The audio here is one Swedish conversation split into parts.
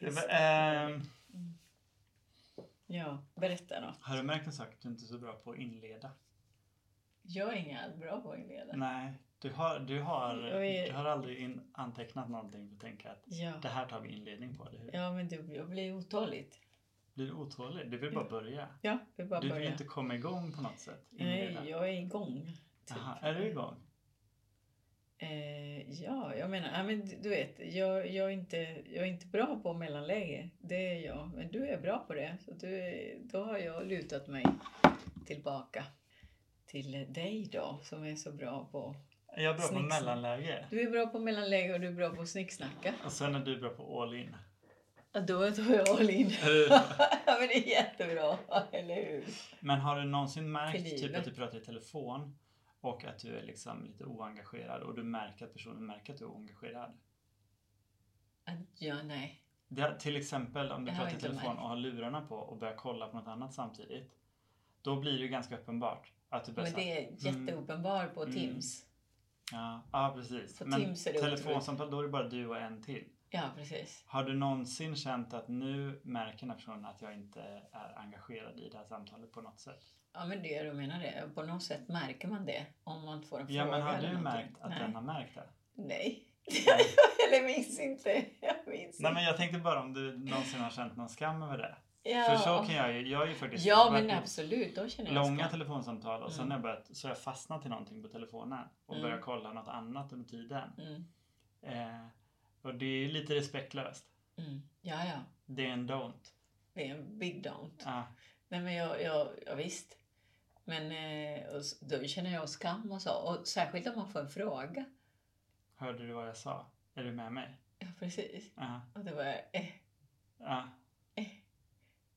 men, ehm, Ja, berätta då. har du märkt en sak? Du är inte så bra på att inleda. Jag är inga bra på att inleda. Nej, du har, du har, Jag är- du har aldrig in, antecknat någonting för att tänka att Ja. det här tar vi inledning på, eller hur? ja, men du, jag blir otåligt. Blir du otålig? Du vill bara börja. Ja, vi bara Du vill börjar. inte komma igång på något sätt? Nej, jag är igång. typ. Aha, är du igång? Eh, ja, jag menar, ja, men du- du vet, jag, jag, är inte, jag är inte bra på mellanläge. Det är jag. Men du är bra på det. Så du, är- då har jag lutat mig tillbaka till dig då, som är så bra på... Är jag bra på Snicksnack. mellanläge? Du är bra på mellanläge och du är bra på att snicksnacka. Och sen är du bra på all in. Ja, då är jag all in. Är du- ja, men det är jättebra, eller hur? Men har du någonsin märkt Till typ livet. att du pratar i telefon och att du är liksom lite oengagerad och du märker att personen märker att du är oengagerad? Ja, nej. Det, är- till exempel om du Jag har pratar i inte telefon märkt. och har lurarna på och börjar kolla på något annat samtidigt. Då blir det ju ganska uppenbart att du börjar Men säga, det är jätteuppenbar på Mm. Teams. ja, ja, precis. På Men Teams är det telefonsamtal, då är det bara du och en till. Ja, precis. Har du någonsin känt att nu märker den här personen att jag inte är engagerad i det här samtalet på något sätt? Ja, men det är du menar det. På något sätt märker man det om man får en fråga. Ja, men har eller du någonting. märkt att Nej. den har märkt det? Nej. eller minns inte. Jag minns Nej, inte. men jag tänkte bara om du någonsin har känt någon skam över det. ja. För så kan jag ju, jag har ju faktiskt Ja, varit men i absolut. Då känner jag långa skam. telefonsamtal och sen Mm. har jag börjat, så har jag fastnat i någonting på telefonen och Mm. börjat kolla något annat under tiden. Mm. Eh, och det är lite respektlöst. Mm. Ja, ja. Det är en don't. Det är en big don't. Ah, Nej, men jag, jag, ja, visst. Men eh, och, s- då känner jag skam och så. Och särskilt om man får en fråga. hörde du vad jag sa? Är du med mig? Ja, precis. Ah, Och det var eh, ah.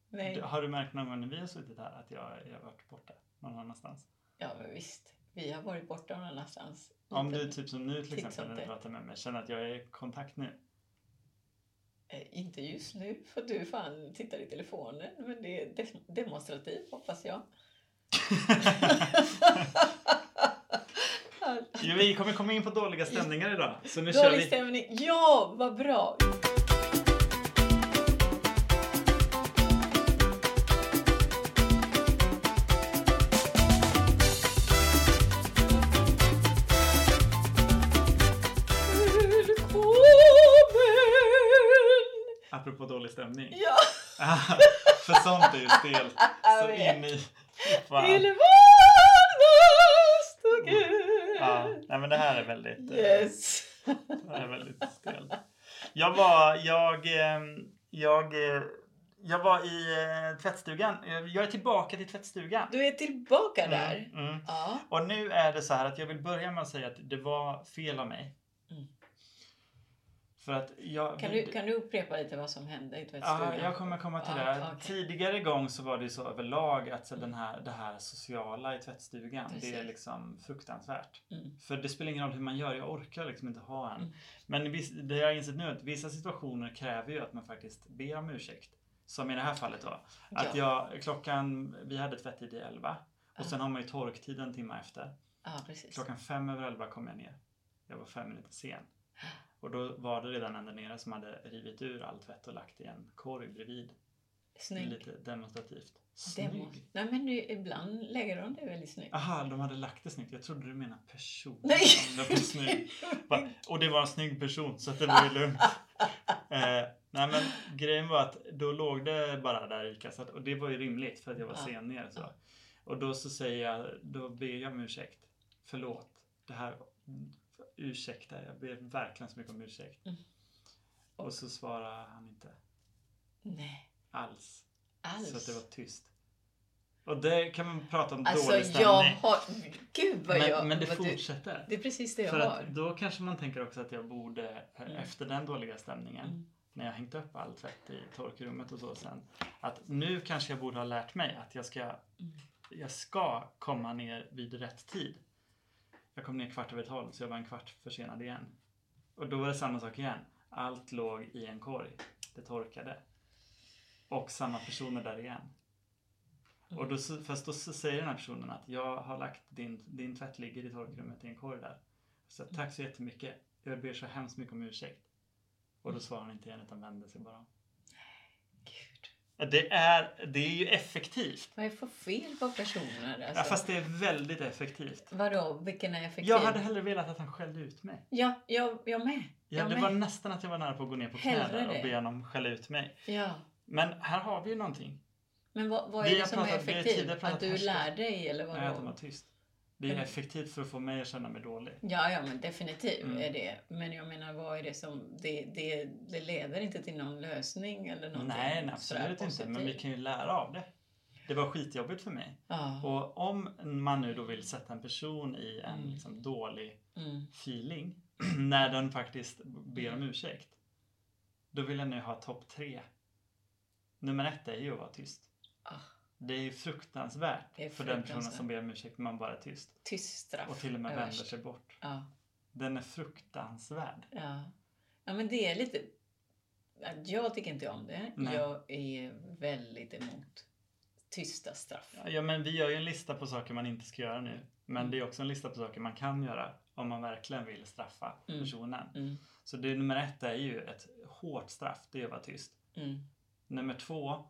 nej. Du- Har du märkt någon gång när vi har suttit här att jag, jag har varit borta någon annanstans? Ja, men visst. Vi har varit borta någon annanstans. Om Inte- du typ som nu till Titt exempel när du sånt där. pratar med mig känner att jag är i kontakt nu. Eh, Inte just nu, för du fan tittar i telefonen. Men det är de- demonstrativt, hoppas jag. Alltså. Jo, vi kommer komma in på dåliga stämningar idag. Så nu kör Dålig vi. stämning. Ja, vad bra! Välkommen! Apropå dålig stämning. Ah, Ja, För sånt är ju stelt. Så Jag vet. in i... till Fan. Mm. världens och Gud. Ja, nej men det här är väldigt... eh, Yes. Det är väldigt stelt. Jag var, jag, eh, jag, eh, jag var i eh, tvättstugan. Eh, Jag är tillbaka till tvättstugan. Du är tillbaka där. Mm, mm. Ja. Och nu är det så här att jag vill börja med att säga att det var fel av mig. Mm. För att jag... Kan, du, kan du upprepa lite vad som hände i Ja, tvättstugan? jag kommer komma till Ja, det. okej. Tidigare gång så var det ju så överlag att så den här, det här sociala i tvättstugan, det är Precis. liksom fruktansvärt. Mm. För det spelar ingen roll hur man gör, jag orkar liksom inte ha en. Mm. Men viss- det jag har insett nu är att vissa situationer kräver ju att man faktiskt ber om ursäkt. Som i det här fallet då. Att jag, klockan, vi hade tvättid i 11 Ja. och sen har man ju torktid en timme efter. ja, precis. Klockan fem över elva kom jag ner. Jag var fem minuter sen. Och då var det redan en där nere som hade rivit ur all tvätt och lagt i en korg bredvid. Snygg. Lite demonstrativt. Demo. Snygg! Ah, Nej, men nu, ibland lägger de det väldigt snyggt. Aha, de hade lagt det snyggt. Jag trodde du menade personen. Nej! som Det var snygg. Bara, Och det var en snygg person så att det var ju lugnt. Eh, nej men grejen var att då låg det bara där i kassat och det var ju rimligt för att jag var Ja. sen ner. Så. Ja. Och då så säger jag, då ber jag om ursäkt. Förlåt. Det här, ursäkta, jag ber verkligen så mycket om ursäkt. Mm. Och så svarar han inte Nej, alls. alls. Så att det var tyst. Och det kan man prata om alltså, dålig stämning. jag har... Gud vad jag... Men, men det vad du, fortsätter. det är precis det jag För har. att då kanske man tänker också att jag borde, eh, efter den dåliga stämningen, Mm. när jag hängt upp all tvätt i torkrummet och så sen, att nu kanske jag borde ha lärt mig att jag ska, jag ska komma ner vid rätt tid. Jag kom ner kvart över tolv, så jag var en kvart försenad igen. Och då var det samma sak igen. Allt låg i en korg. Det torkade. Och samma personer där igen. Och då, så- fast då så säger den här personen att jag har lagt din, din tvätt ligger i torkrummet i en korg där. Så att, tack så jättemycket. Jag ber så hemskt mycket om ursäkt. Och då svarar han inte igen utan vänder sig bara om. Det är, det är ju effektivt. Vad är det för fel på personer? Alltså? Ja, fast det är väldigt effektivt. Vadå, vilken är effektiv? Jag hade hellre velat att han skällde ut mig. Ja, jag, jag med. Ja, Jag det med. var nästan att jag var nära på att gå ner på knä Hellre där och det. be honom skälla ut mig. Ja. Men här har vi ju någonting. Men vad, vad Vi är det har som pratat- är vi har effektivt? tidigare pratat Att du härskap. lär dig eller Nej, att de var vadå? tyst. Det är Mm. effektivt för att få mig att känna mig dålig. Ja, ja, men definitivt Mm. är det. Men jag menar, vad är det som... Det, det, det leder inte till någon lösning eller någonting Nej, nej sådär absolut inte. Men vi positivt. kan ju lära av det. Det var skitjobbigt för mig. Ja. Och om man nu då vill sätta en person i en Mm. liksom, dålig Mm. feeling när den faktiskt ber om ursäkt. Då vill jag nu ha topp tre. Nummer ett är ju att vara tyst. Ah, Det är ju fruktansvärt, Det är för den personen fruktansvärt. som ber om ursäkt när man bara är tyst. tyst straff. Och till och med är vänder värst. sig bort. Ja, Den är fruktansvärd. ja. ja, men det är lite... ja, Jag tycker inte om det. Nej. Jag är väldigt emot tysta straff. Ja men vi gör ju en lista på saker man inte ska göra nu. Men Mm. det är också en lista på saker man kan göra om man verkligen vill straffa Mm. personen. Mm, Så det nummer ett är ju ett hårt straff, det är att vara tyst. mm, Nummer två,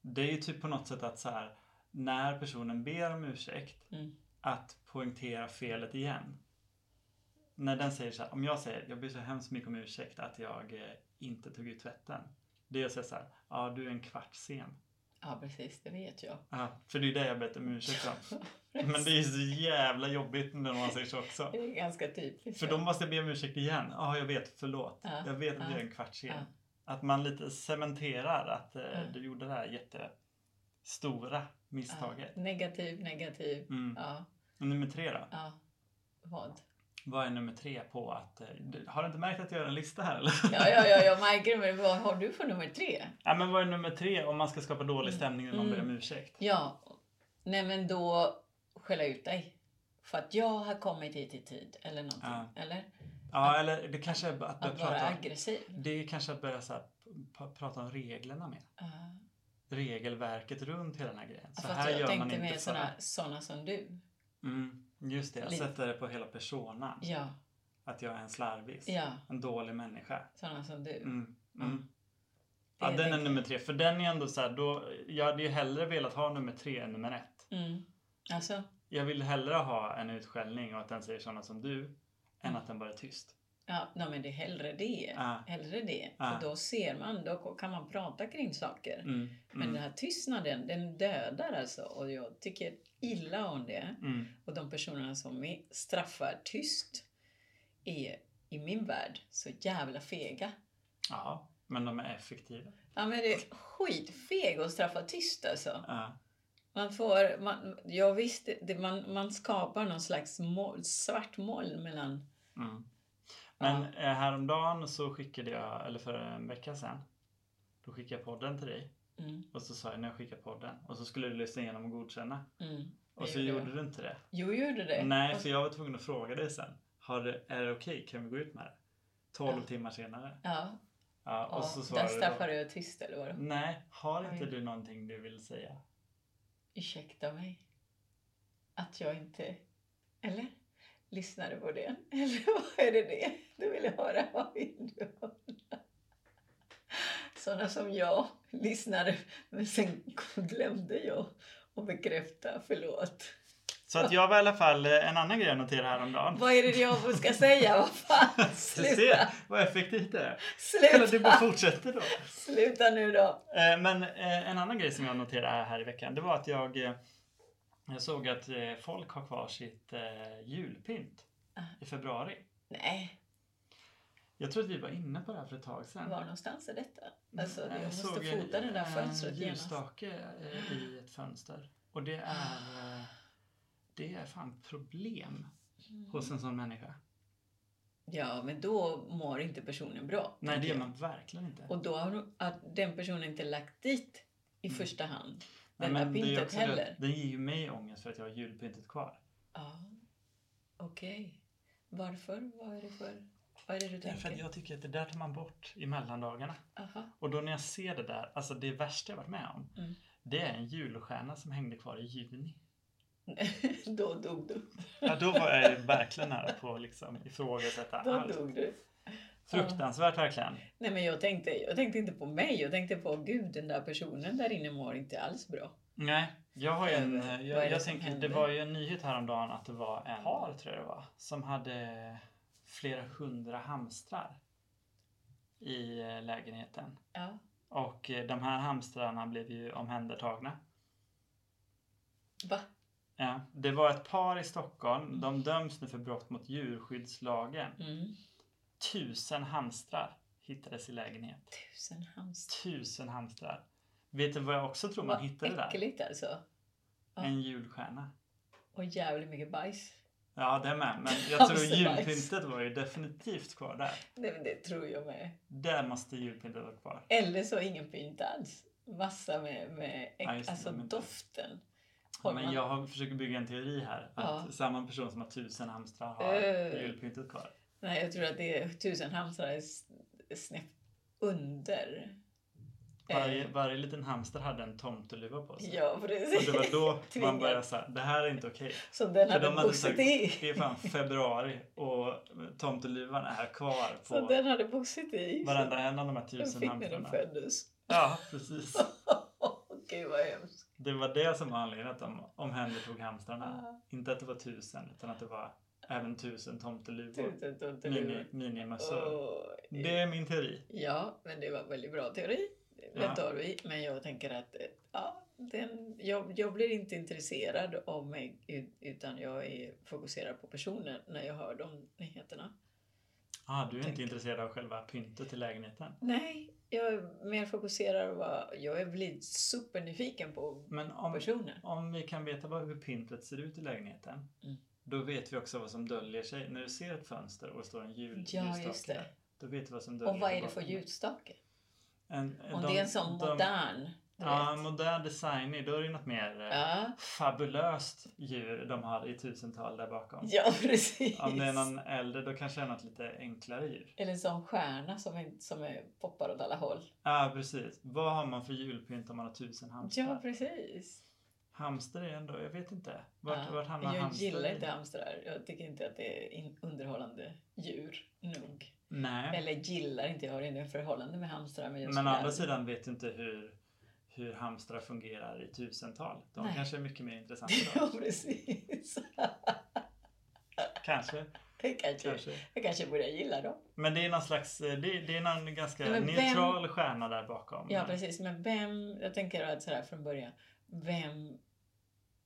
det är ju typ på något sätt att så här, när personen ber om ursäkt, mm. att poängtera felet igen. När den säger så här, om jag säger jag ber så hemskt mycket om ursäkt att jag eh, inte tog ut tvätten. Det är att säga så här, ja du är en kvart sen. Ja, precis. Det vet jag. Ja, för det är ju det jag bett om ursäkt om. Men det är ju så jävla jobbigt när någon säger så också. Det är ganska typiskt. För då måste jag be om ursäkt igen. Ja, jag vet, förlåt. Ja, Jag vet att ja, jag är en kvart sen. ja. Mm. Att man lite cementerar att eh, Ja. du gjorde det här jättestora ja. misstaget. Negativ, negativ. Mm. Ja, Och nummer tre då? ja. Vad? Vad är nummer tre på att... eh, du- Har du inte märkt att jag gör en lista här eller? Ja, ja, ja, jag märker det. Men vad har du för nummer tre? Ja, men vad är nummer tre om man ska skapa dålig Mm. stämning när någon ber om Mm. ursäkt? Ja, nej men då skälla ut dig. För att jag har kommit hit i tid eller någonting. Ja. Eller? Ja, eller det kanske är att börja Att vara prata... aggressiv. Det är kanske att börja så här, p- prata om reglerna mer. Ja. Regelverket runt hela den här grejen. Så Fast här jag gör man tänkte inte mer så såna, här. såna som du. Mm, just det, jag Lite. sätter det på hela personan. Ja, Att jag är en slarvis. ja. En dålig människa. Såna som du. Mm. Mm. Mm. Ja, Det den är tänker nummer tre. För den är ändå så här, då, jag hade ju hellre velat ha nummer tre än nummer ett. Mm. Alltså, Jag vill hellre ha en utskällning och att den säger sådana som du, Mm. än att den bara är tyst. Ah. ja, nej, men det är hellre det. Ja. Hellre det. Ja. För då ser man, då kan man prata kring saker. Mm. Men den Mm. här tystnaden, den dödar alltså. Och jag tycker illa om det. Mm. Och de personerna som är- straffar tyst är i min värld så jävla fega. Ja, men de är effektiva. Ja men det är skitfeg att straffa tyst alltså. Ja. Man får, man, jag visste, det, man, man skapar någon slags mol, svart moln mellan... Mm. Men eh, häromdagen så skickade jag, eller för en vecka sedan, då skickade jag podden till dig. Mm, Och så sa jag när jag skickade podden. Och så skulle du lyssna igenom och godkänna. mm. Och Det så gjorde jag. gjorde du inte det. Jo, gjorde det. Nej, Och- för jag var tvungen att fråga dig sen. Har det, är det okej? Kan vi gå ut med det? 12 Ja. timmar senare. Ja, Ja, och ja så där svarade straffar du. då, du tyst eller vadå? Nej, har Oj. inte du någonting du vill säga? Ursäkta mig. Att jag inte... Eller? Lyssnade på det. Eller vad är det det? Du ville höra vad vill du höra? Sådana som jag lyssnade men sen glömde jag att bekräfta. Förlåt. Så att jag var i alla fall eh, en annan grej jag noterade häromdagen. Vad är det jag ska säga? Vad fan? Du ser Sluta! vad effektivt det är. Eller du bara Sluta, fortsätter då. Sluta nu då! Eh, Men eh, en annan grej som jag noterade här i veckan, det var att jag, eh, jag såg att eh, folk har kvar sitt eh, julpynt Ah. i februari. Nej, Jag tror att vi var inne på det här för ett tag sedan. var någonstans är detta? Alltså, jag Mm. Jag måste såg fota det där en fönstret genast. ljusstake eh, i ett fönster. Och det är, eh, det är fan problem hos en sån människa. Ja, men då mår inte personen bra. Nej, det tänker gör jag. man verkligen inte. Och då har hon- att den personen inte lagt dit i Mm. första hand. Nej, Den där det är ju pyntet också det att heller. Den ger ju mig ångest för att jag har julpyntet kvar. Ja, okej. Varför? Vad är det för? Vad är det du Därför tänker? att jag tycker att det där tar man bort i mellandagarna. Aha. Och då när jag ser det där, alltså det värsta jag varit med om, Mm. det är en julstjärna som hängde kvar i juni. då dog du. Ja, då var jag ju verkligen nära på att liksom ifrågasätta Då allt. dog du. Fruktansvärt verkligen. Nej, men jag tänkte, jag tänkte inte på mig. Jag tänkte på Gud, den där personen där inne mår inte alls bra. Nej, jag har ju en, Eh, vad är jag, det jag som tänker, det händer? var ju en nyhet häromdagen att det var en par, tror jag det var, som hade flera hundra hamstrar i eh, lägenheten. Ja. Och eh, de här hamstrarna blev ju omhändertagna. Va? Ja, det var ett par i Stockholm. De döms nu för brott mot djurskyddslagen. Mm. Tusen hamstrar hittades i lägenhet. Tusen hamstrar. Tusen hamstrar. Vet du vad jag också tror man hittade där? äckligt alltså. ja. En julstjärna. Och jävligt mycket bajs. Ja, det med. Men jag tror Hamsterbajs. julpyntet var ju definitivt kvar där. Nej, men det tror jag med. Där måste julpyntet vara kvar. Eller så ingen pynt alls. Massa med, med äck, Ja, just det, alltså de är inte- doften. Har Men man- jag har, försöker bygga en teori här. Att Ja. samma person som har tusen hamstrar har Eh. julpyntet kvar. Nej, jag tror att det är tusen hamstrar är s- snäpp under. Varje, Eh, varje liten hamster hade en tomteluva på sig. Ja, Och precis. det var då man Tvingad. började säga, det här är inte okej. Så den Alltså, För de hade hade boxat i. tagit- Det är fan februari och tomteluvan är kvar Så på den hade boxat i. varenda en av de här Den tusen fick när den hamstrarna. föddes. Ja, precis. Gud vad hemskt. Det var det som var anledningen att de omhändertog hamstrarna. Inte att det var tusen, utan att det var även tusen tomteluvor. Tusen tomteluvor. Mini- Minimössor. Åh, Alltså, Det är min teori. Ja, men det var en väldigt bra teori. Ja. Den tar vi. Men jag tänker att eh, ja, den, jag, jag blir inte intresserad av mig ut- utan jag är fokuserad på personen när jag hör de nyheterna. Ah, du är inte Tänker. intresserad av själva pyntet i lägenheten. Nej, jag är mer fokuserad på vad jag är blivit supernyfiken på Men om, personen. om vi kan veta vad, hur pyntet ser ut i lägenheten, Mm. då vet vi också vad som döljer sig. När du ser ett fönster och det står en jul, Ja, just ljusstake det. där, då vet du vad som döljer Och vad sig är det för bakom. ljusstake? En, en- Om de- det är en sån de- modern, du Ja, vet. modern design, då är det något mer eh, Ja, fabulöst djur de har i tusental där bakom. ja precis. Om det är någon äldre, då kanske det är något lite enklare djur. Eller en sån stjärna som, är, som är poppar åt alla håll. Ja, ah, precis. Vad har man för julpynt om man har tusen hamstrar? Ja, precis. Hamster är ändå, jag vet inte. Vart, Ja, vart hamnar jag hamster? gillar i? inte hamstrar. Jag tycker inte att det är in- underhållande djur nog. Nej. Eller gillar inte, jag har inget förhållande med hamstrar. Men, jag Men å skulle andra aldrig- sidan vet du inte hur, hur hamstrar fungerar i tusental. De Nej. kanske är mycket mer intressanta då. Ja, precis. kanske, Jag kanske, kanske. jag kanske borde gilla dem. Men det är någon slags, eh, det, det är någon ganska Men vem- neutral stjärna där bakom. Ja, precis. Men vem, jag tänker att sådär från början, vem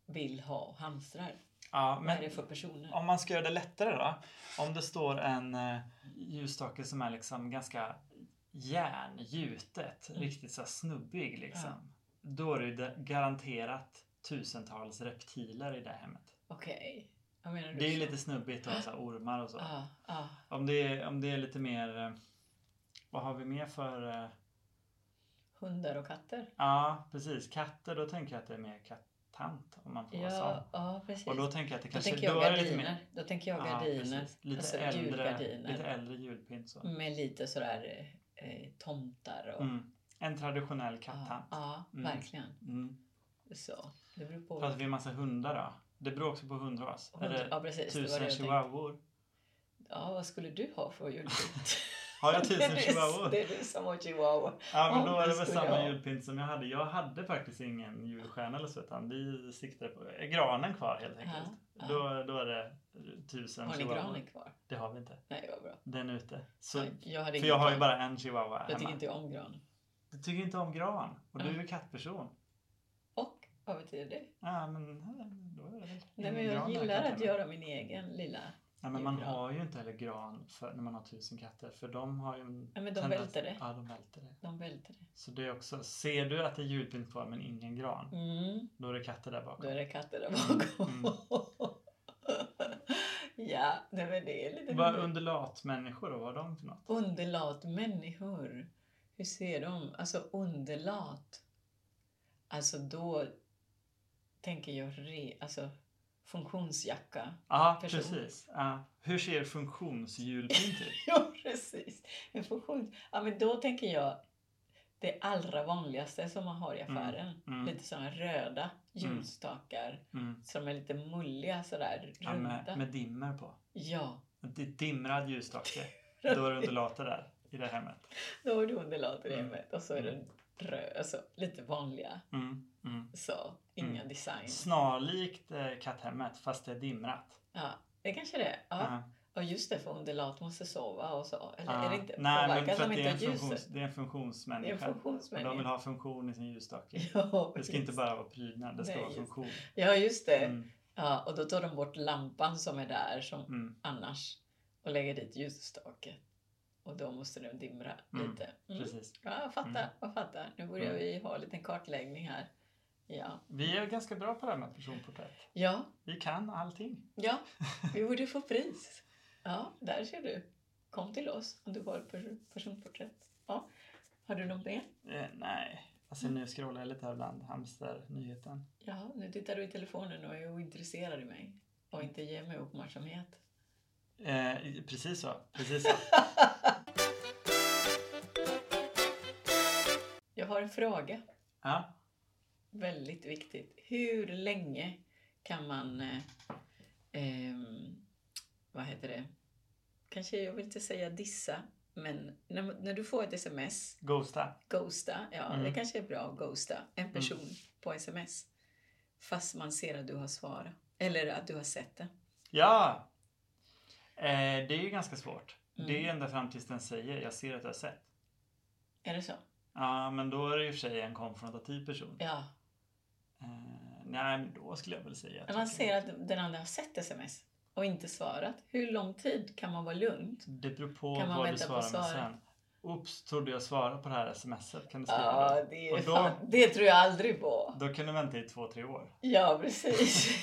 vill ha hamstrar? Ja, Vad är men det för personer? om man ska göra det lättare då. Om det står en eh, ljusstake som är liksom ganska järngjutet, Mm. riktigt så här snubbig liksom. Då är det ju de- garanterat tusentals reptiler i det hemmet. Okej. Jag menar du Det är ju så? lite snubbigt och så här ormar och så. Ja, ja. Om det, är, om det är lite mer... eh, Vad har vi mer för... eh, Hundar och katter. Ja, precis. Katter, då tänker jag att det är mer kattant om man får vara Ja, sån. ja, precis. Och då tänker jag att det Då kanske... tänker jag är det lite gardiner. mer- Då tänker jag Ja, gardiner. precis. lite, alltså äldre, julgardiner. lite äldre julpynt så. Med lite sådär eh, tomtar och... Mm. En traditionell ja, kattant. ja, Mm. verkligen. Mm. Så. Det beror på... Pratar vi en massa hundar då? Det beror också på hundras. Är Hund- det ja, precis. Det var det jag tusen tänkte. chihuahuor? Ja, vad skulle du ha för julpynt? Har jag Det är tusen du- chihuahuor? Det är du som har chihuahua. Ja, men Om då är du det väl skulle samma ha- julpynt som jag hade. Jag hade faktiskt ingen julstjärna eller så, utan vi siktade på är granen kvar helt enkelt. Ja, ja. Då, då är det tusen Har ni chihuahuor. granen kvar? Det har vi inte. Nej, vad bra. Den är ute. Så, Nej, jag hade för ingen jag har ju gran. bara en chihuahua hemma. Jag tycker inte om gran. Du tycker inte om gran och du Mm. är kattperson. Och, vad betyder det? Ja, men eh, då är det väl Nej, ingen men jag gran där, gillar katten. att göra min egen lilla... Ja, men man julgran. har ju inte heller gran för, när man har tusen katter för de har ju en Ja, men de välter det. Ja, de välter det. De välter det. Så det är också, ser du att det är julpynt kvar men ingen gran, Mm. då är det katter där bakom. Då är det katter där Mm. bakom. ja, nej, men det är lite... Vad underlatmänniskor då? Vad har de för något? Underlat människor. Hur ser de? Alltså underlat. Alltså då tänker jag re... Alltså funktionsjacka. Ja, Person. precis. Ja. Hur ser funktionsjulpynt ut? Ja, precis. En funktion. Ja, men då tänker jag det allra vanligaste som man har i affären. mm. Lite sådana röda ljusstakar Mm. som är lite mulliga sådär, Ja, runda. med, med dimmer på. Ja, Det är Dimrad ljusstake. Då är du undulater där i det hemmet. Då har du underlater i Mm. hemmet och så är Mm. det röd, alltså lite vanliga Mm, mm. så, inga Mm. design. Snarlikt eh, katthemmet fast det är dimrat. Ja, det kanske det är. Ja. Ja. Och just det, för underlat måste sova och så. Eller Ja. är det inte? Nej, men påverkas för att de det, är inte en av ljuset? funktions, det är en funktionsmänniska. Det är en Och de vill funktionsmänniska. ha funktion i sin ljusstake. Ja, Det ska inte bara vara prydnad, det ska Nej, vara just- funktion. ja, just det. Mm, Ja, och då tar de bort lampan som är där som mm, annars och lägger dit ljusstake. Och då måste den dimra Mm, lite. Mm. precis. Ja, jag fattar, Mm. jag fattar. Nu börjar Mm. vi ha en liten kartläggning här. Ja, Vi är ganska bra på det här med personporträtt. ja, Vi kan allting. ja. vi borde få pris. Ja, där ser du. Kom till oss om du har ett pers- personporträtt. Ja. Har du något mer? Eh, nej, alltså nu scrollar jag lite här bland hamsternyheten. Ja, nu tittar du i telefonen och är ointresserad i mig och inte ger mig uppmärksamhet. Eh, precis så, precis så. Jag har en fråga. Ja, Väldigt viktigt. Hur länge kan man... Eh, ehm, vad heter det? Kanske jag vill inte säga dissa, men när, när du får ett sms, ghosta. ghosta. Ja, Mm. det kanske är bra att ghosta en person på sms. Fast man ser att du har svarat. Eller att du har sett det. Ja! Eh, det är ju ganska svårt. Mm. Det är ju ända fram tills den säger jag ser att du har sett. Är det så? Ja, men då är det i och för sig en konfrontativ person. Ja. Eh, nej, men då skulle jag väl säga När man jag- ser att den andra har sett sms och inte svarat, hur lång tid kan man vara lugn? Det beror på Kan man vad du vänta svarar på med svaret? sen. Oops, trodde jag svarade på det här smset. Kan du skriva Ja, det? det, Och är då- fan, det tror jag aldrig på. Då kan du vänta i två, tre år. Ja, precis.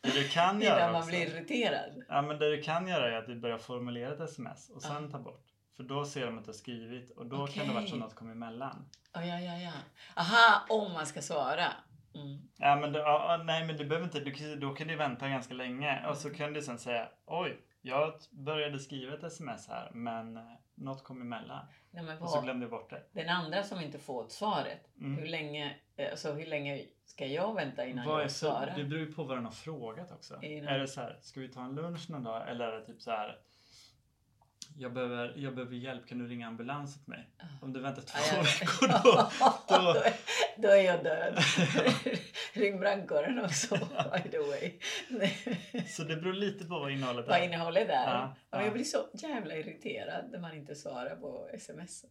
Det du kan Det är när göra man också, blir irriterad. ja, men det du kan göra är att du börjar formulera ett sms och sen Ja. ta bort. För då ser de att du har skrivit och då kan det vara så Okej. att något kom emellan. Ja, ja, ja, ja. Aha, om man ska svara. Mm. Ja, men du, ja, ja, nej, men du behöver inte, du, kan- då kan du vänta ganska länge och så Mm. kan du sen säga oj, jag började skriva ett sms här men eh, något kom emellan Nej, men och så vad- glömde jag bort det. Den andra som inte får svaret, hur, Mm. länge, eh, alltså, hur länge ska jag vänta innan Vad är jag så, svarar? det beror ju på vad den har frågat också. Är det- Är det så här, ska vi ta en lunch någon dag? Eller är det typ så här, jag behöver, jag behöver hjälp, kan du ringa ambulans åt mig? Ja. Om du väntar två Ja, jag- veckor då. då- då, är- då är jag död. Ja. Ring brandkåren också, by the way. Så det beror lite på vad innehållet Vad är. innehållet är. Ja, Ja, ja. Jag blir så jävla irriterad när man inte svarar på sms.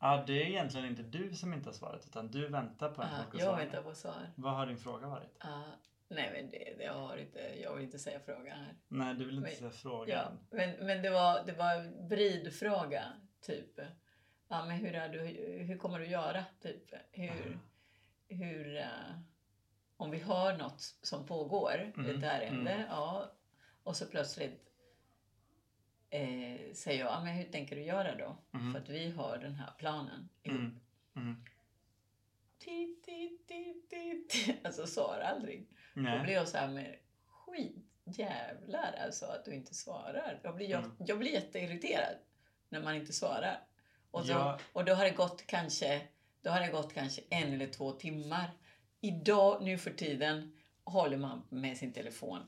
Ja, det är egentligen inte du som inte har svaret utan du väntar på en Ja, folk att jag svara. väntar på svar. Vad har din fråga varit? Ja, nej, men det, det har inte, jag vill inte säga frågan här. Nej, du vill inte Men- säga Ja, frågan. men men det, var, det var en bridfråga, typ. Ja, men hur, är du, hur kommer du göra? Typ. Hur, Mm. hur, eh, om vi har något som pågår, Mm, ett ärende, mm. ja, och så plötsligt eh, säger jag, ja, men hur tänker du göra då? Mm. För att vi har den här planen ihop. Mm. Mm. Ti, ti, ti, ti, ti. Alltså svarar aldrig. Då blir Nej. jag så här med skitjävlar alltså att du inte svarar. Jag blir, jag, Mm. jag blir jätteirriterad när man inte svarar. Och då, Ja. och då har det gått kanske då har det gått kanske en eller två timmar. Idag, nu för tiden, håller man med sin telefon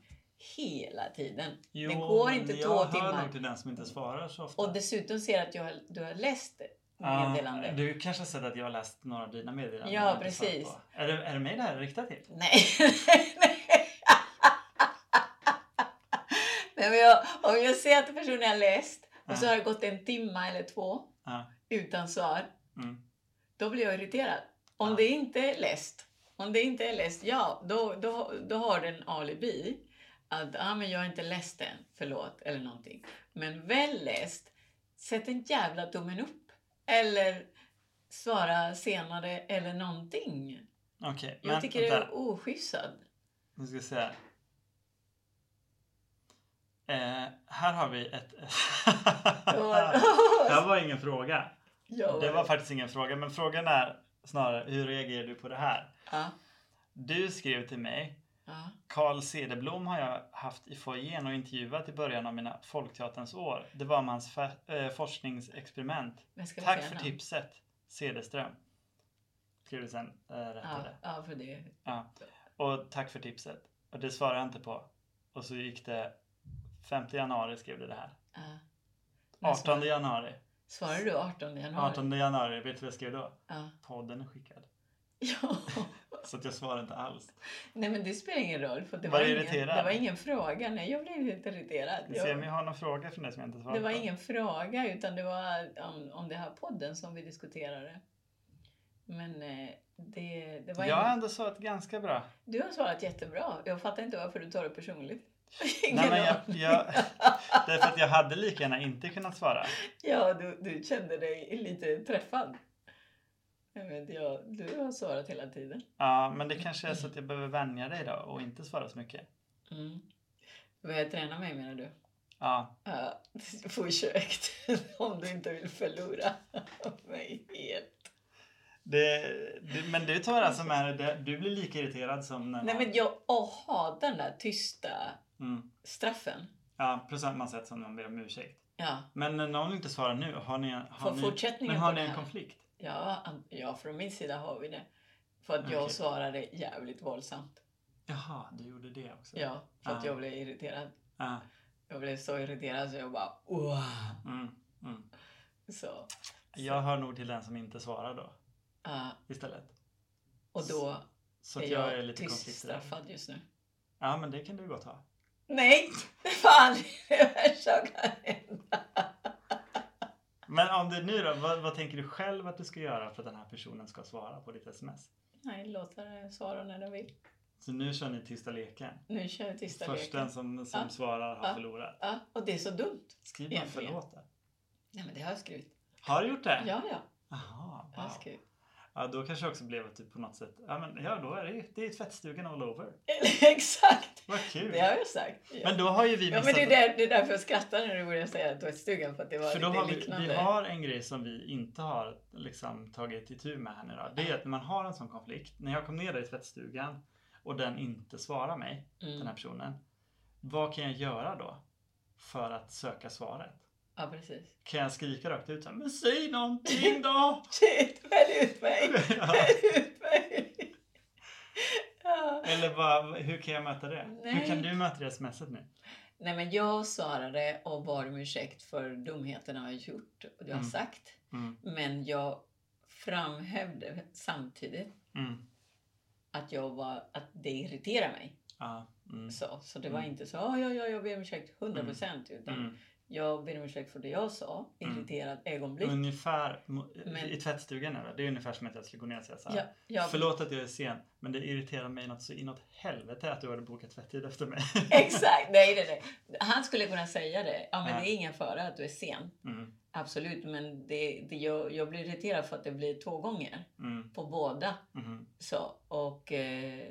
hela tiden. Jo, det går inte men två Jag hör timmar. nog till den som inte svarar så ofta. Och dessutom ser jag att jag, har- du har läst Ja, meddelandet. Du kanske har sett att jag har läst några av dina meddelanden? Ja, jag inte svarat precis. på. Är det, är det mig det här är riktat till? Nej. Nej men jag, om jag ser att personen har läst och så Ja. har det gått en timme eller två Ja. utan svar, Mm. då blir jag irriterad. Om Ja. det inte är läst, om det inte är läst, ja, då, då, då har den alibi att ah, men jag har inte läst den, förlåt, eller någonting. Men väl läst, sätt en jävla tummen upp. Eller svara senare eller någonting. Okej, Jag men tycker det vänta. är oschysstad. Nu ska jag se. här. Eh, här har vi ett... Det det var- här var ingen fråga. Ja, Det var faktiskt ingen fråga, men frågan är snarare hur reagerar du på det här? Ja, Du skrev till mig ja. Carl Cederblom har jag haft i foajén och intervjuat i början av mina Folkteaterns år. Det var om hans fa- eh, forskningsexperiment. Men ska vi Tack säga för namn? tipset, Cederström. Skriver sen eh, Ja, rättade. ja, för det. Ja. Och tack för tipset. Och det svarade jag inte på. Och så gick det 5 januari skrev du det här. Ja. Men svar- 18 januari. Svarar du 18 januari? 18 januari, vet du vad jag skrev då? Ja. Podden är skickad. ja. Så att jag svarar inte alls. Nej men det spelar ingen roll. För det, Var var du ingen, irriterad? det var ingen fråga. Nej, jag blev helt irriterad. Vi Jag- ser om jag har någon fråga från dig som jag inte svarar Det var på. ingen fråga utan det var om, om det här podden som vi diskuterade. Men eh, det, det var Jag har ingen... ändå svarat ganska bra. Du har svarat jättebra. Jag fattar inte varför du tar det personligt. Ingen Nej, men jag, aning. jag, det är för att jag hade lika gärna inte kunnat svara. Ja, du, du kände dig lite träffad. Jag vet, jag, du har svarat hela tiden. Ja, men det kanske är så att jag behöver vänja dig då och inte svara så mycket. Mm. Börja träna mig menar du? Ja, Ja, försök om du inte vill förlora mig helt. det, du, men du tar alltså med dig det. Du blir lika irriterad som när... Nej men jag åh, hatar den där tysta mm. straffen. Ja, på samma sätt som någon ber om ursäkt. Ja, Men när någon inte svarar nu, har ni, har Får ni, fortsättningen men har på ni det en här? konflikt? Ja, an- ja, från min sida har vi det. För att jag Okej. svarade jävligt våldsamt. Jaha, du gjorde det också? Ja, för att Ah. jag blev irriterad. Ja, Jag blev så irriterad så jag bara wow. mm, mm. Så, Jag hör nog till den som inte svarar då ja, istället. Eh, och då Så att jag, är lite tyst konflikträdd. straffad just nu. Ja, men det kan du gott ha. Nej! Fan, det är det värsta som kan hända. Men om det nu då, vad, vad tänker du själv att du ska göra för att den här personen ska svara på ditt sms? Nej, låt den svara när den vill. Så nu kör ni tysta leken. Nu kör vi tysta Först den leken. som, som Ja. svarar har Ja. förlorat. Ja, och det är så dumt. Skriv bara Egentligen. förlåt det. Nej, men det har jag skrivit. Har du gjort det? Ja, ja. Jag Jaha, har wow. skrivit. Ja, då kanske jag också blev att typ på något sätt, ja men ja, då är det ju, det är tvättstugan all over. Exakt! Vad kul! Det har jag sagt. Ja. Men då har ju vi Ja, missat, men det är, där, det är därför jag skrattar när du börjar säga tvättstugan för att det var för då har lite vi, liknande. vi har en grej som vi inte har liksom tagit itu med här nu då. Det är att när man har en sån konflikt, när jag kom ner där i tvättstugan och den inte svarar mig, den här mm. personen. Vad kan jag göra då för att söka svaret? Ja, precis. Kan jag skrika rakt ut så här, men säg någonting då! Shit, välj ut mig! Ja. Välj ut mig! Ja. Eller bara, hur kan jag möta det? Hur Nej. kan du möta det smset nu? Nej, men jag svarade och bad om ursäkt för dumheterna jag har gjort och det jag har Mm. sagt. Mm, Men jag framhävde samtidigt mm, att, jag var, att det irriterar mig. ja, mm, Så, så det var Mm. inte så "Ah, ja, ja, jag ber om ursäkt 100 procent. Utan mm. jag ber om ursäkt för det jag sa. Mm. Irriterad ögonblick. Ungefär Men- i tvättstugan nu då, det är ungefär som att jag skulle gå ner och säga så här. Ja, jag Förlåt att jag är sen, men det irriterar mig något så inåt helvete att du hade bokat tvättid efter mig. Exakt, nej, nej, nej. Han skulle kunna säga det. Ja, men Ja. det är ingen fara att du är sen. Mm, Absolut, men det, det, jag, jag blir irriterad för att det blir två gånger mm, på båda. mm. Så, och eh,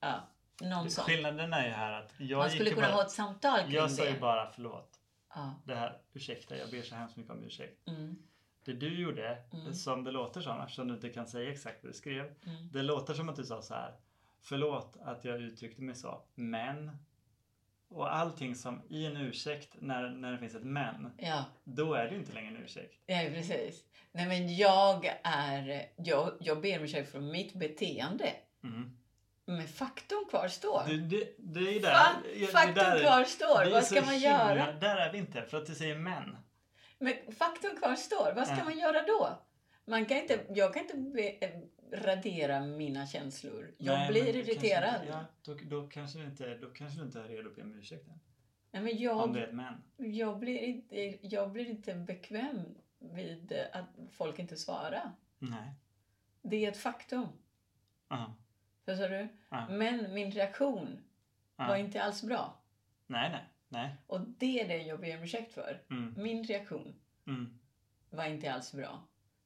ja, någon sån. Skillnaden är ju här att Man jag, gick skulle ju kunna bara, ha ett samtal kring jag sa det. ju bara förlåt. Ja, Det här, ursäkta, jag ber så hemskt mycket om ursäkt. mm, Det du gjorde, Mm. som det låter som, eftersom du inte kan säga exakt vad du skrev. mm, Det låter som att du sa så här. Förlåt att jag uttryckte mig så, men. Och allting som i en ursäkt, när, när det finns ett men, ja, då är det ju inte längre en ursäkt. ja, precis. Nej, men jag är... Jag, jag ber om ursäkt för mitt beteende. Mm. Men faktum kvarstår. Det, det, det är ju där. Fan, ja, det faktum där- kvarstår. det är Vad så ska man göra? himla- Där är vi inte, för att du säger men. Men faktum kvarstår. Vad ska Ja. man göra då? Man kan inte, jag kan inte be, eh, radera mina känslor. Jag Nej, men blir det kanske irriterad. Inte, ja, då, då, kanske du inte, då kanske du inte är redo att be om ursäkt än. Nej, men Om jag, det är ett men. jag, blir inte, jag blir inte bekväm vid eh, att folk inte svarar. Nej. Det är ett faktum. Ja. Förstår du? Ja. Men min reaktion Ja. var inte alls bra. Nej, nej. Nej. Och det är det jag ber om ursäkt för. Mm. Min reaktion Mm. var inte alls bra.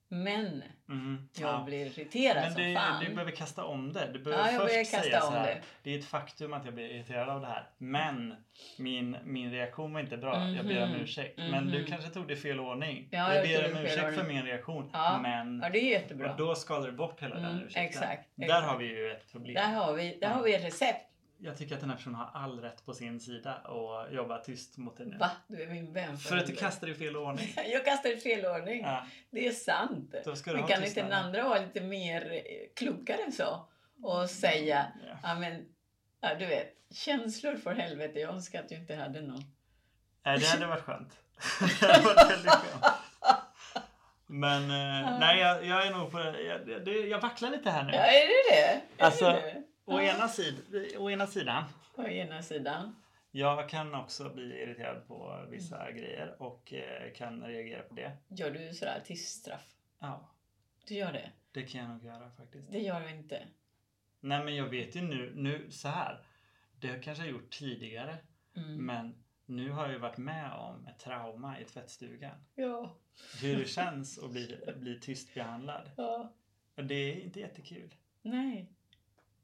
Men Mm. jag Ja. blir irriterad Men som det, fan. du behöver kasta om det. Du Ja, behöver jag börjar först kasta säga så om här. Det. det. är ett faktum att jag blir irriterad av det här. Men min, min reaktion var inte bra. Jag ber om Mhm. ursäkt. Men du Mhm. kanske tog det i fel ordning. Ja, jag jag ber tog det om i fel ursäkt för ordning. min reaktion. Ja. Men Ja, det är jättebra. och då skalar du bort hela den Mm, ursäkten. exakt, Där exakt. har vi ju ett problem. Där har vi, där har vi ett recept. Jag tycker att den här personen har all rätt på sin sida och jobbar tyst mot dig nu. Va? Du är min vän. För att du helvete. kastar i fel ordning. Jag kastar i fel ordning. Ja, Det är sant. då ska du Men ha kan inte tystnaden. den andra vara lite mer eh, klokare än så? Mm. Och säga, Ja. ja men, ja, du vet, känslor för helvete. Jag önskar att jag inte hade någon. Nej, det hade varit skönt. det hade varit väldigt skönt. Men eh, Ja. nej, jag, jag är nog på jag, jag- det, jag vacklar lite här nu. Ja, är det det? Är Alltså- det det? Å, Ja. ena sid, å ena sidan, På ena sidan. jag kan också bli irriterad på vissa Mm. grejer och eh, kan reagera på det. Gör du sådär artiststraff? Ja, Du gör det? det kan jag nog göra faktiskt. Det gör du inte. Nej, men jag vet ju nu, nu så här. Det har kanske jag gjort tidigare, Mm. men nu har jag ju varit med om ett trauma i tvättstugan. Ja. Hur det känns att bli, bli tyst behandlad. ja. Och Det är inte jättekul. Nej.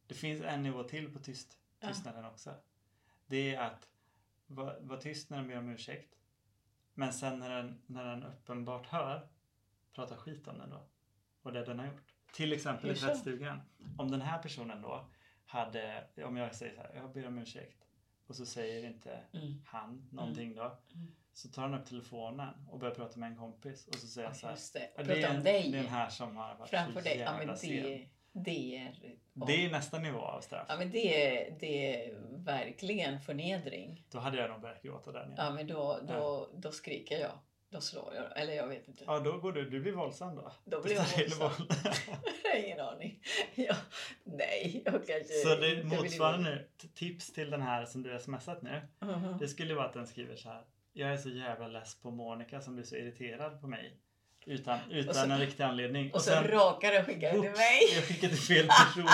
Det finns en nivå till på tyst, Ja. tystnaden också. Det är att vara var tyst när den ber om ursäkt. Men sen när den, när den uppenbart hör, prata skit om den då. Och det den har gjort. Till exempel i Hur så? tvättstugan. Om den här personen då hade, om jag säger så här, jag ber om ursäkt. Och så säger inte Mm. han någonting då. Mm. Så tar han upp telefonen och börjar prata med en kompis. Och så säger han så Ja, här. Alltså, just det. "Ja, Prata är om den dig. här som har varit Framför så dig. Ja, jävla men sen. det, det är... Det är nästa nivå av straff. Ja, men det är, det är verkligen förnedring. Då hade jag nog börjat gråta där nere. Ja. Ja, men då, då, då skriker jag. Då slår jag. Eller jag vet inte. då går du, du blir våldsam då. Då Du blir jag tar till våldsam. våld. Jag har ingen aning. Ja, nej, jag kanske så det inte vill- motsvarar nu, t- tips till den här som du har smsat nu. Mhm. Det skulle vara att den skriver så här. Jag är så jävla less på Monica som blir så irriterad på mig. Utan, utan så- en riktig anledning. Och så rakar och skickar till "Oops, mig. Jag skickade till fel person.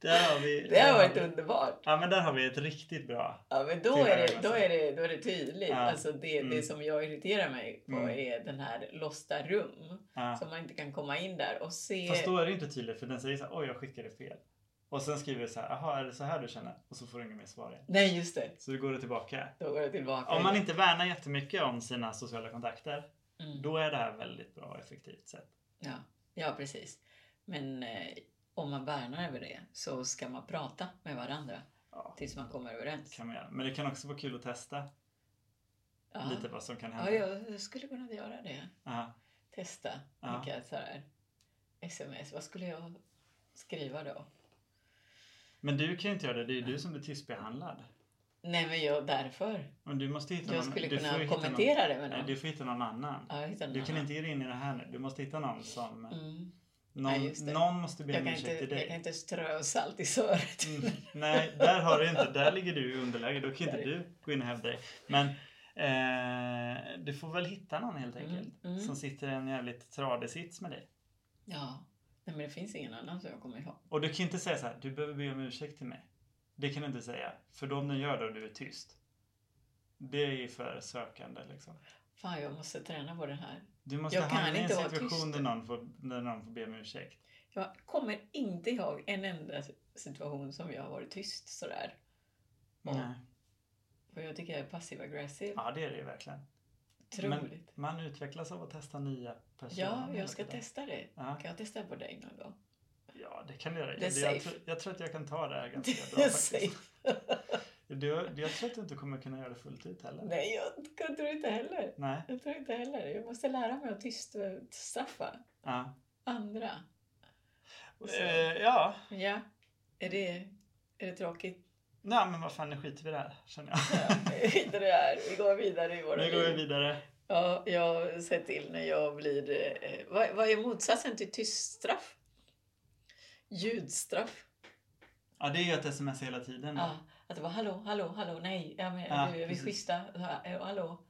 där har vi. Det har där varit vi- underbart. Ja men där har vi ett riktigt bra. Ja, men då Till är, det, ögonen. då, är det, då är det tydligt. Ja. Alltså det, Mm. det som jag irriterar mig på Mm. är den här låsta rum. Ja. Som man inte kan komma in där och se. Fast då är det inte tydligt för den säger så här. Oj jag skickade fel. Och sen skriver du så här. Jaha är det så här du känner? Och så får du inget mer svar igen. Nej, just det. Så går det tillbaka. Då går det tillbaka. Om man igen. inte värnar jättemycket om sina sociala kontakter, Mm. då är det här väldigt bra och effektivt sätt. Ja, ja precis. Men eh, om man värnar över det så ska man prata med varandra Ja, tills man kommer det överens. kan man göra. Men det kan också vara kul att testa Ja, lite vad som kan ja hända. jag skulle kunna göra det. Ja, Testa Ja. vilka så här, sms. Vad skulle jag skriva då? Men du kan ju inte göra det, det är ju du som blir tystbehandlad. Nej, men jag därför. Men du måste hitta Jag någon, skulle du får ju kunna hitta kommentera det med Någon, nej, någon. du får hitta någon annan. Ja, jag hittar någon Du kan annan. inte ge dig in i det här nu. Du måste hitta någon som... Mm. Någon, Nej, just det. någon måste be Jag, om kan ursäkt inte, till dig. jag kan inte strö salt i såret. Mm, nej, där har du inte. Där ligger du i underläge. Då kan inte du gå in och hävda dig. Men eh, du får väl hitta någon helt Mm, enkelt. mm. Som sitter i en jävligt tradig sits med dig. Ja, Nej, men det finns ingen annan som jag kommer ihåg. Och du kan inte säga så här, du behöver be om ursäkt till mig. Det kan du inte säga. För då om den gör det och du är tyst. Det är ju för sökande liksom. Fan, jag måste träna på det här. Du måste Jag kan hamna i en inte vara situation tyst. där någon, får, där någon får be om ursäkt. Jag kommer inte ihåg en enda situation som jag har varit tyst sådär. Och, Nej. och jag tycker jag är passiv aggressiv. Mm. Ja, det är det ju verkligen. Otroligt. Man utvecklas av att testa nya personer. Ja, hela jag ska tiden. testa det. Ja. Kan jag testa på dig någon gång? Ja, det kan du göra. Det är jag, jag, safe. tror- jag tror att jag kan ta det här Det ganska bra är faktiskt. safe. Du, jag tror att du inte kommer kunna göra det fullt ut heller. Nej. Nej, jag, jag tror inte heller. Jag tror inte heller. Jag måste lära mig att tyst straffa Ja. andra. Och så- Eh, ja. Ja, är det, är det tråkigt? Nej, men vad fan, nu skiter vi i det här känner jag. Ja, inte det här. Vi går vidare i våra Nu går vi liv. vidare. Ja, jag ser till när jag blir... Eh, vad, vad är motsatsen till tyst straff? Ljudstraff. Ja, det är ju att sms hela tiden. Ja, att det var hallå, hallå, hallå, nej, ja, men, Mm. Ja, du, vi är precis. schyssta, ja, eh, hallå.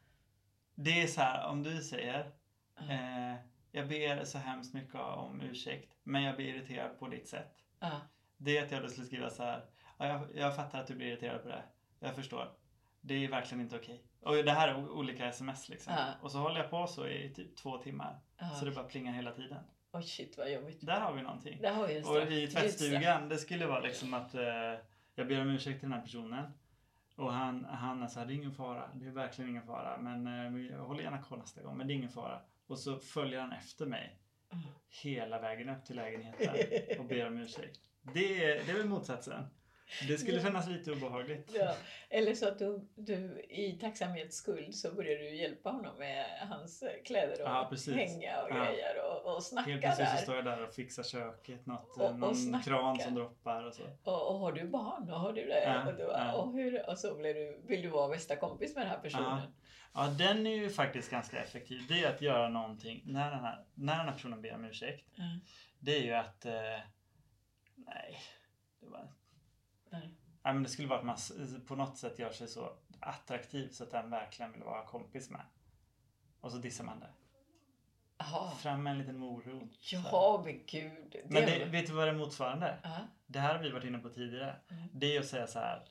Det är så här, om du säger Ja. eh, Jag ber så hemskt mycket om ursäkt, men jag blir irriterad på ditt sätt. Ja, Det är att jag då skulle skriva så här. Ja, jag, jag fattar att du blir irriterad på det. här. Jag förstår. Det är verkligen inte okej. Och det här är o- olika sms liksom. Ja. Och så håller jag på så i typ två timmar. ja. Så det bara plingar hela tiden. Oj, shit vad jobbigt. Där har vi någonting. Där har vi en straff. Och i Ljudstraff. tvättstugan, det skulle vara liksom att eh, jag ber om ursäkt till den här personen. Och han, han är så här, det är ingen fara. Det är verkligen ingen fara. Men eh, vi- jag håller gärna koll nästa gång. Men det är ingen fara. Och så följer han efter mig Mm. hela vägen upp till lägenheten och ber om ursäkt. Det, är- det är väl motsatsen. Det skulle Ja. kännas lite obehagligt. Ja. Eller så att du, du i tacksamhetsskuld så börjar du hjälpa honom med hans eh, kläder och Ja, precis. hänga och Ja. grejer och och, och snackar Helt plötsligt så där. står jag där och fixar köket, något, Och- och någon snackar. kran som droppar och så. Och, och har du barn? Och har du det? Ja, och, du bara, ja. och, hur, och så blir du, vill du vara bästa kompis med den här personen. Ja, den är ju faktiskt ganska effektiv. Det är att göra någonting när den här, när den här personen ber om ursäkt. Ja. Det är ju att... Eh, nej, det var Nej. Nej, men det skulle vara att man s- på något sätt gör sig så attraktiv så att den verkligen vill vara kompis med. Och så dissar man det. Jaha. Fram med en liten morot. så här. Ja, men gud. Det Men det, vet du vad det är motsvarande? är? Ja. Det här har vi varit inne på tidigare. Mm. Det är att säga så här.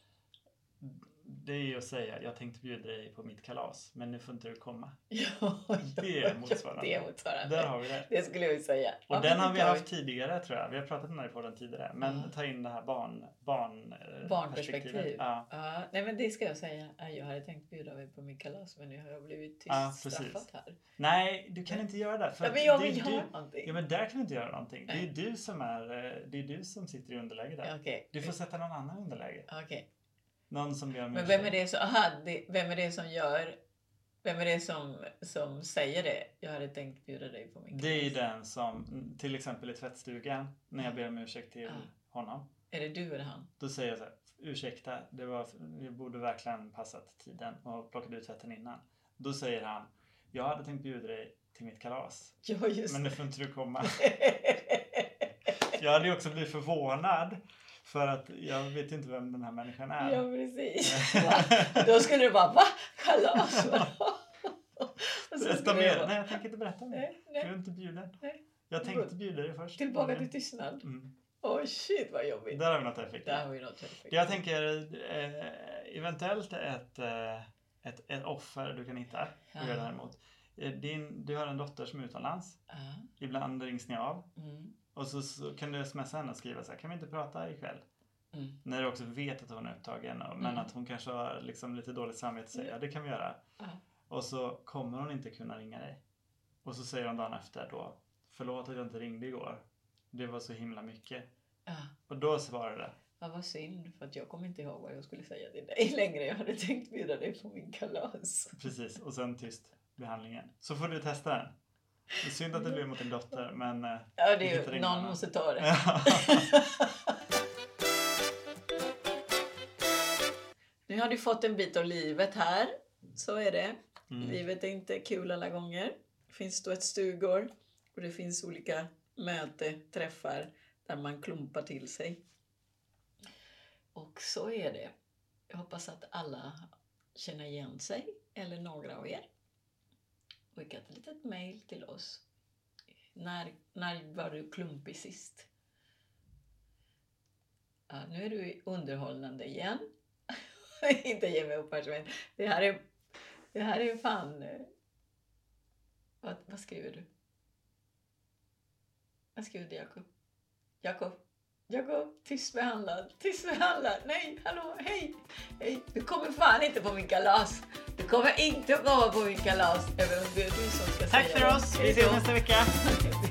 Det är att säga, jag tänkte bjuda dig på mitt kalas, men nu får inte du komma. Ja, Det ja, är motsvarande. Det är motsvarande. Där har vi det. Det skulle jag ju säga. Och Ja, den men har det vi tar haft tidigare tror jag. Vi har pratat om den här på den tidigare. Men Ja. ta in det här barn, barn, eh, Barnperspektiv. perspektivet. Ja, Ja, nej men det ska jag säga. Ja, Jag hade tänkt bjuda mig på min kalas men nu har jag blivit tyst Ja, precis. straffat här. Nej, du kan inte göra det. För Ja, men att jag det är vill du- göra någonting. Ja men där kan du inte göra någonting. Det är Nej. du som, är, eh, det är du som sitter i underläge där. Ja, Okej. Du får sätta någon annan i underläge. Okej. Någon som ber om Men ursäkt. vem är det som, aha, det, vem är det som gör, vem är det som, som säger det? Jag hade tänkt bjuda dig på min kalas. Det är ju den som, mm, till exempel i tvättstugan, när jag ber om ursäkt till Mm. Ja. honom. Är det du eller han? Då säger jag så här, ursäkta, det, var, jag borde verkligen passat tiden och plockat ut tvätten innan. Då säger han, jag hade tänkt bjuda dig till mitt kalas, Ja just men nu det. får inte du komma. Jag hade ju också blivit förvånad, för att jag vet ju inte vem den här människan är. ja precis. Va? Då skulle du bara va? Kalas? Och så Berätta skulle jag mer. bara, Nej, jag tänker inte berätta mer. Nej, Du nej. är inte bjuden. Nej. Jag tänkte bjuda dig först. Tillbaka till tystnad. Mm. Åh shit vad jobbigt. Där har vi något Det effektivt. här var ju något perfekt. Jag tänker eh, eventuellt ett, eh, ett, ett offer du kan hitta. Ja. Ja. Däremot. Eh, Din, du har en dotter som är utomlands. Ja. Ibland rings ni av. Mm. Och så, så kan du smsa henne och skriva så här, kan vi inte prata ikväll? Mm. När du också vet att hon är upptagen och, men Mm. att hon kanske har liksom lite dåligt samvete och säger ja det kan vi göra. Ja. Och så kommer hon inte kunna ringa dig. Och så säger hon dagen efter då förlåt att jag inte ringde igår. Det var så himla mycket. Ja. Och då svarar du. Ja, vad synd, för att jag kommer inte ihåg vad jag skulle säga till dig längre. Jag hade tänkt bjuda dig på min kalas. Precis och sen tyst behandlingen. Så får du testa den. Det är synd att det blir mot din dotter men eh, Ja, det Vi är hittar ju, ingen någon annan. måste ta det. ja. Nu har du fått en bit av livet här. Så är det. mm. Livet är inte kul alla gånger. Det finns då ett stugor och det finns olika möte, träffar där man klumpar till sig. Och så är det. Jag hoppas att alla känner igen sig, eller några av er. Skicka ett litet mejl till oss. När, när var du klumpig sist? Ja, nu är du underhållande igen. inte ge mig upp här, Sven. Det här är det här är fan... eh, Vad, vad skriver du? Vad skriver du, Jakob? Jakob? Jakob, tyst behandlad, tyst behandlad. Nej, hallå, hej, hej. Du kommer fan inte på min kalas. Du kommer inte komma på min kalas. även om det är du som ska Tack säga för oss. Vi ses nästa vecka. nästa